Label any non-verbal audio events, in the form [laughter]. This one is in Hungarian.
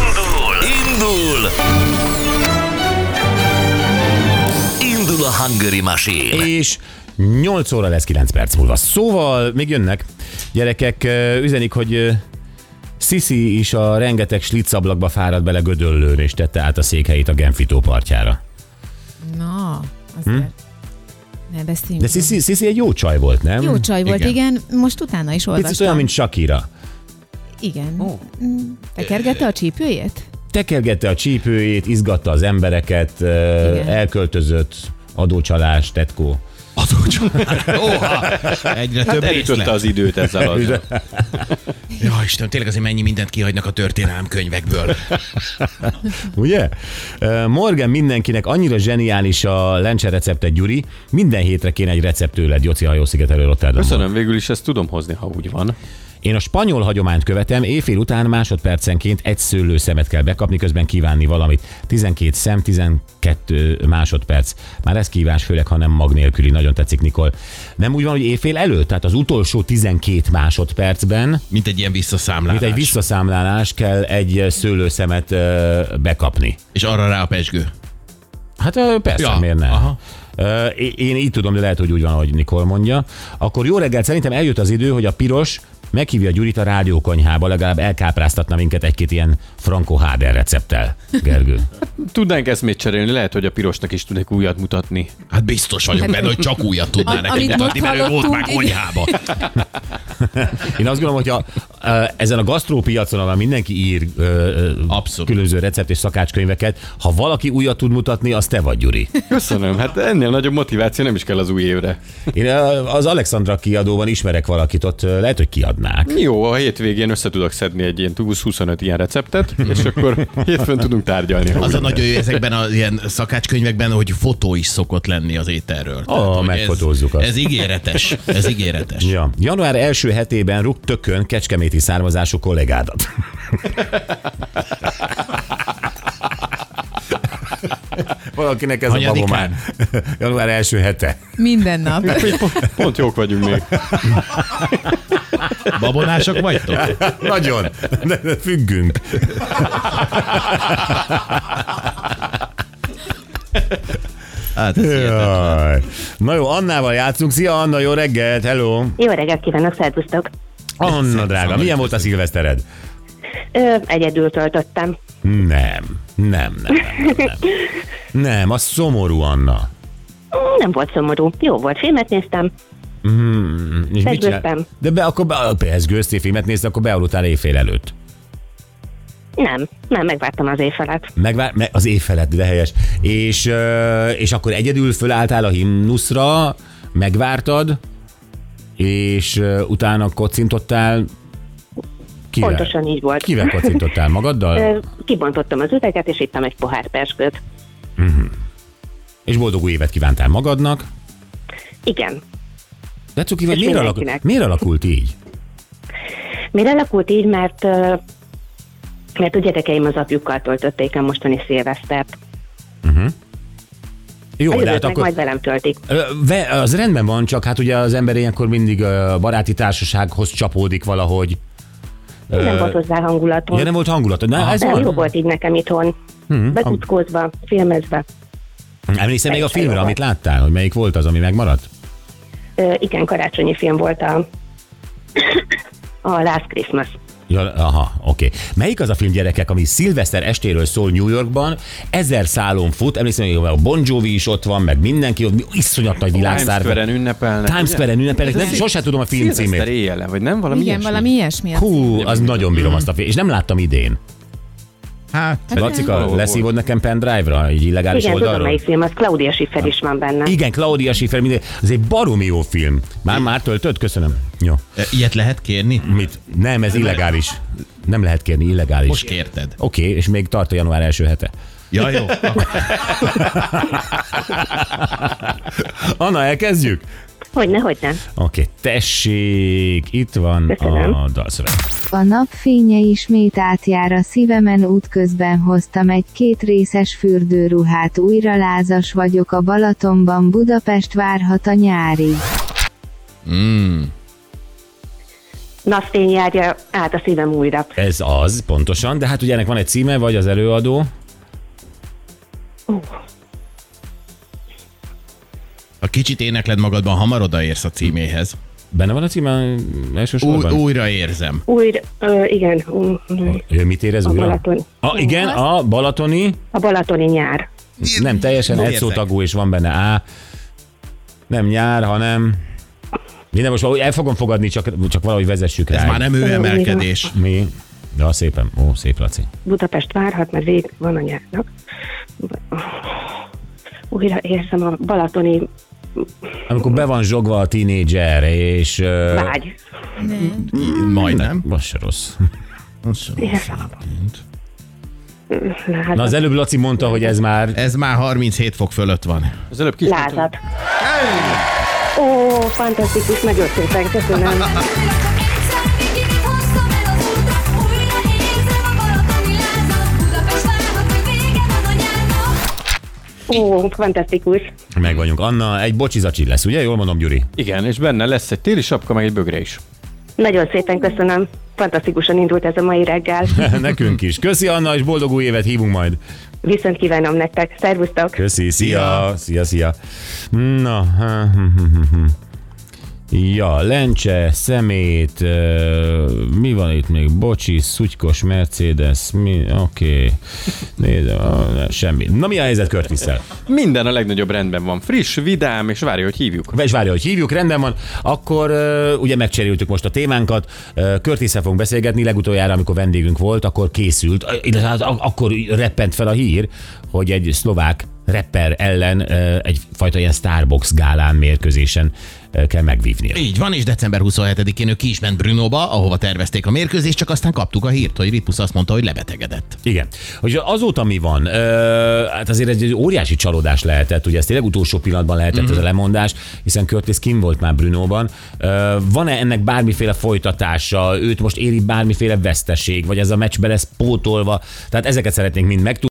Indul! Indul! Indul a Hungary Machine! és 8 óra lesz 9 perc múlva. Szóval még jönnek gyerekek, ö, üzenik, hogy ö, Sisi is a rengeteg slicablakba fáradt bele gödöllőn, és tette át a székhelyét a Genfi tó partjára. Na, azért. Ne beszéljünk. Hm? De Sisi, Sisi egy jó csaj volt, nem? Jó csaj volt, igen. igen. Most utána is olvastam. Picit olyan, mint Shakira. Igen. Oh. Tekergette a csípőjét? Tekergette a csípőjét, izgatta az embereket, ö, Igen. elköltözött, adócsalás, tetkó. Oha! Egyre hát több Elütötte részlet. az időt ezzel az. Ja, Istenem, tényleg azért mennyi mindent kihagynak a történelem könyvekből. Ugye? Ö, Morgan mindenkinek annyira zseniális a lencse receptet, Gyuri. Minden hétre kéne egy recept tőled, Joci hajószigetelő Rotterdamban. Köszönöm, végül is ezt tudom hozni, ha úgy van. Én a spanyol hagyományt követem, éjfél után másodpercenként egy szőlőszemet kell bekapni, közben kívánni valamit. 12 szem, 12 másodperc. Már ez kívás, főleg ha nem mag nélküli, nagyon tetszik Nikol. Nem úgy van, hogy éjfél előtt, tehát az utolsó 12 másodpercben, Mint egy ilyen visszaszámlálás. mint egy visszaszámlálás kell egy szőlőszemet ö, bekapni. És arra rá a pesgő. Hát ö, persze, ja, Ja, miért ne? Aha. aha. Én így tudom, de lehet, hogy úgy van, ahogy Nikol mondja. Akkor jó reggel, szerintem eljött az idő, hogy a piros meghívja Gyurit a rádiókonyhába, legalább elkápráztatna minket egy-két ilyen Franco Hader recepttel, Gergő. Tudnánk eszmét cserélni, lehet, hogy a pirosnak is tudnék újat mutatni. Hát biztos vagyok benne, hogy csak újat tudná Am- neked amit mutatni, most mert ő volt már hallottunk, igen. konyhába. Én azt gondolom, hogy a, ö, ezen a gasztrópiacon, ahol mindenki ír ö, ö, Abszolút. különböző recept és szakácskönyveket, ha valaki újat tud mutatni, az te vagy, Gyuri. Köszönöm, hát ennél nagyobb motiváció nem is kell az új évre. Én ö, az Alexandra kiadóban ismerek valakit, ott ö, lehet, hogy kiadnák. Jó, a hétvégén össze tudok szedni egy ilyen 20-25 ilyen receptet, és akkor hétfőn tudunk tárgyalni. ha Az úgy a nagy jó ezekben az ilyen szakácskönyvekben, hogy fotó is szokott lenni az ételről. Tehát, hogy ez- megfotózzuk azt. Ez ígéretes. Ez ígéretes. Ja. Január első hetében rúg tökön kecskeméti származású kollégádat. [laughs] Valakinek ez a Hanyadikán? babomán. [laughs] Január első hete. [laughs] Minden nap. Pont, pont jók vagyunk még. Babonások vagytok? Nagyon. De de függünk. Hát ez ilyen. Jaj. Na jó, Annával játszunk. Szia Anna, jó reggelt, hello. Jó reggelt kívánok, szervusztok! Anna drága, milyen volt a szilvesztered? Ö, egyedül töltöttem. Nem, nem, nem, nem, nem. Nem, az szomorú Anna. Nem volt szomorú. Jó volt, filmet néztem. És mit Pezsgőztem. csinál- De be, akkor be, ez gőzti filmet nézte, akkor bealudtál éjfél előtt. Nem, nem, megvártam az éjfelet. Megvár, me, az évfeled, de helyes. És, ö, és akkor egyedül fölálltál a himnuszra, megvártad, és ö, utána kocintottál. Kivel? Pontosan így volt. Kivel kocintottál? Magaddal? Ö, kibontottam az üveget, és ittam egy pohár pesgőt. és boldog új évet kívántál magadnak. Igen. De Cuki, vagy És miért, alak, mindenkinek. miért alakult így? Miért alakult így, mert, ö, mert a gyerekeim az apjukkal töltötték a mostani szilvesztert. Jó, A de jövőt hát meg akkor... majd velem töltik. Ö, ve- Az rendben van, csak hát ugye az ember ilyenkor mindig a baráti társasághoz csapódik valahogy. Nem volt hozzá hangulatom. Ja, nem volt hangulatod. Na, ez nem, van. Mhm. jó volt így nekem itthon. Hmm, Bekuckózva, filmezve. Emlékszel még a Teljesen filmre, jó amit láttál, hogy melyik volt az, ami megmaradt? Ö, igen, karácsonyi film volt a, a Last Christmas. Ja, aha, oké. Melyik az a film gyerekek, ami szilveszter estéről szól New Yorkban, ezer szálon fut, emlékszem, hogy a Bon Jovi is ott van, meg mindenki ott, iszonyat nagy Times világszár. Square-en ünnepelnek. Times ugye? Square-en ünnepelnek, nem, sose tudom a film Szilveszter címét. éjjelen, vagy nem? Valami Igen, ilyesmi? valami ilyesmi. Hú, az nagyon bírom azt a filmet, és nem láttam idén. Hát, Lacika, Valahol leszívod nekem pendrive-ra, így illegális Igen, tudom oldalról? melyik film, az Claudia Schiffer is van benne. Igen, Claudia Schiffer, minden. Ez egy baromi jó film. Már, már töltött? Köszönöm. Jó. e, Ilyet lehet kérni? Mit? Nem, ez illegális. Nem lehet kérni, illegális. Most kérted. Oké, okay, és még tart a január első hete. Ja, [laughs] jó. [laughs] Anna, elkezdjük? Hogyne, hogyne. Oké, okay, tessék, itt van Köszönöm. a dalszöveg. A napfénye ismét átjár a szívemen útközben hoztam egy két részes fürdőruhát újra lázas vagyok a Balatonban Budapest várhat a nyári. napfény járja át a szívem újra. Ez az, pontosan, de hát ugye ennek van egy címe, vagy az előadó. Ha kicsit énekled magadban, hamar odaérsz a címéhez. Benne van a címe Új, elsősorban? újra érzem. Újra, ö, igen, ú- Ő mit érez A újra? Balaton. A, igen, a Balatoni, a balatoni nyár. nem teljesen Érzek. egyszótagú, és van benne A. Nem nyár, hanem... Minden most valahogy el fogom fogadni, csak, csak valahogy vezessük Ez rá. már nem ő emelkedés. Mi? De az szépen. Ó, szép Laci. Budapest várhat, mert vég van a nyárnak. Újra érzem a balatoni Amikor be van zsogva a tínédzser, és... ö, vágy. Majdnem. Az se rossz. Lázad. Na, az előbb Laci mondta, hogy ez már... Ez már 37 fok fölött van. Az előbb ki is mondtam. Lázad. Ó, fantasztikus, nagyon szépen, köszönöm. Ó, fantasztikus. Meg vagyunk. Anna, egy bocsizacsi lesz, ugye? Jól mondom, Gyuri? [laughs] Igen, és benne lesz egy téli sapka, meg egy bögre is. Nagyon szépen köszönöm. Fantasztikusan indult ez a mai reggel. Nekünk is. Köszi, Anna, és boldog új évet hívunk majd. Viszont kívánom nektek. Szervusztok! Köszi, szia, Szia. szia, szia. Na, hm, ja, lencse, szemét, ö, mi van itt még? Bocsi, szutykos Mercedes, mi, oké. Nézem, ah, semmi. Na mi a helyzet Körtiszel? Minden a legnagyobb rendben van. Friss, vidám, és várja, hogy hívjuk. És várja, hogy hívjuk, rendben van. Akkor ö, ugye megcseréltük most a témánkat, Körtiszel fogunk beszélgetni, legutoljára, amikor vendégünk volt, akkor készült, ö, illetve hát ak- akkor reppent fel a hír, hogy egy szlovák rapper ellen ö, egyfajta ilyen Starbucks gálán mérkőzésen ö, kell megvívnia. Így van, és december 27-én ő ki is ment Brünóba, ahova tervezték a mérkőzést, csak aztán kaptuk a hírt, hogy Ripusz azt mondta, hogy lebetegedett. Igen. Hogy azóta mi van? Ö, hát azért egy, egy óriási csalódás lehetett, ugye ez tényleg utolsó pillanatban lehetett mm-hmm. ez a lemondás, hiszen Curtis Kim volt már Brunóban. Ö, van-e ennek bármiféle folytatása? Őt most éri bármiféle veszteség? Vagy ez a meccsbe lesz pótolva? Tehát ezeket szeretnénk mind megtudni.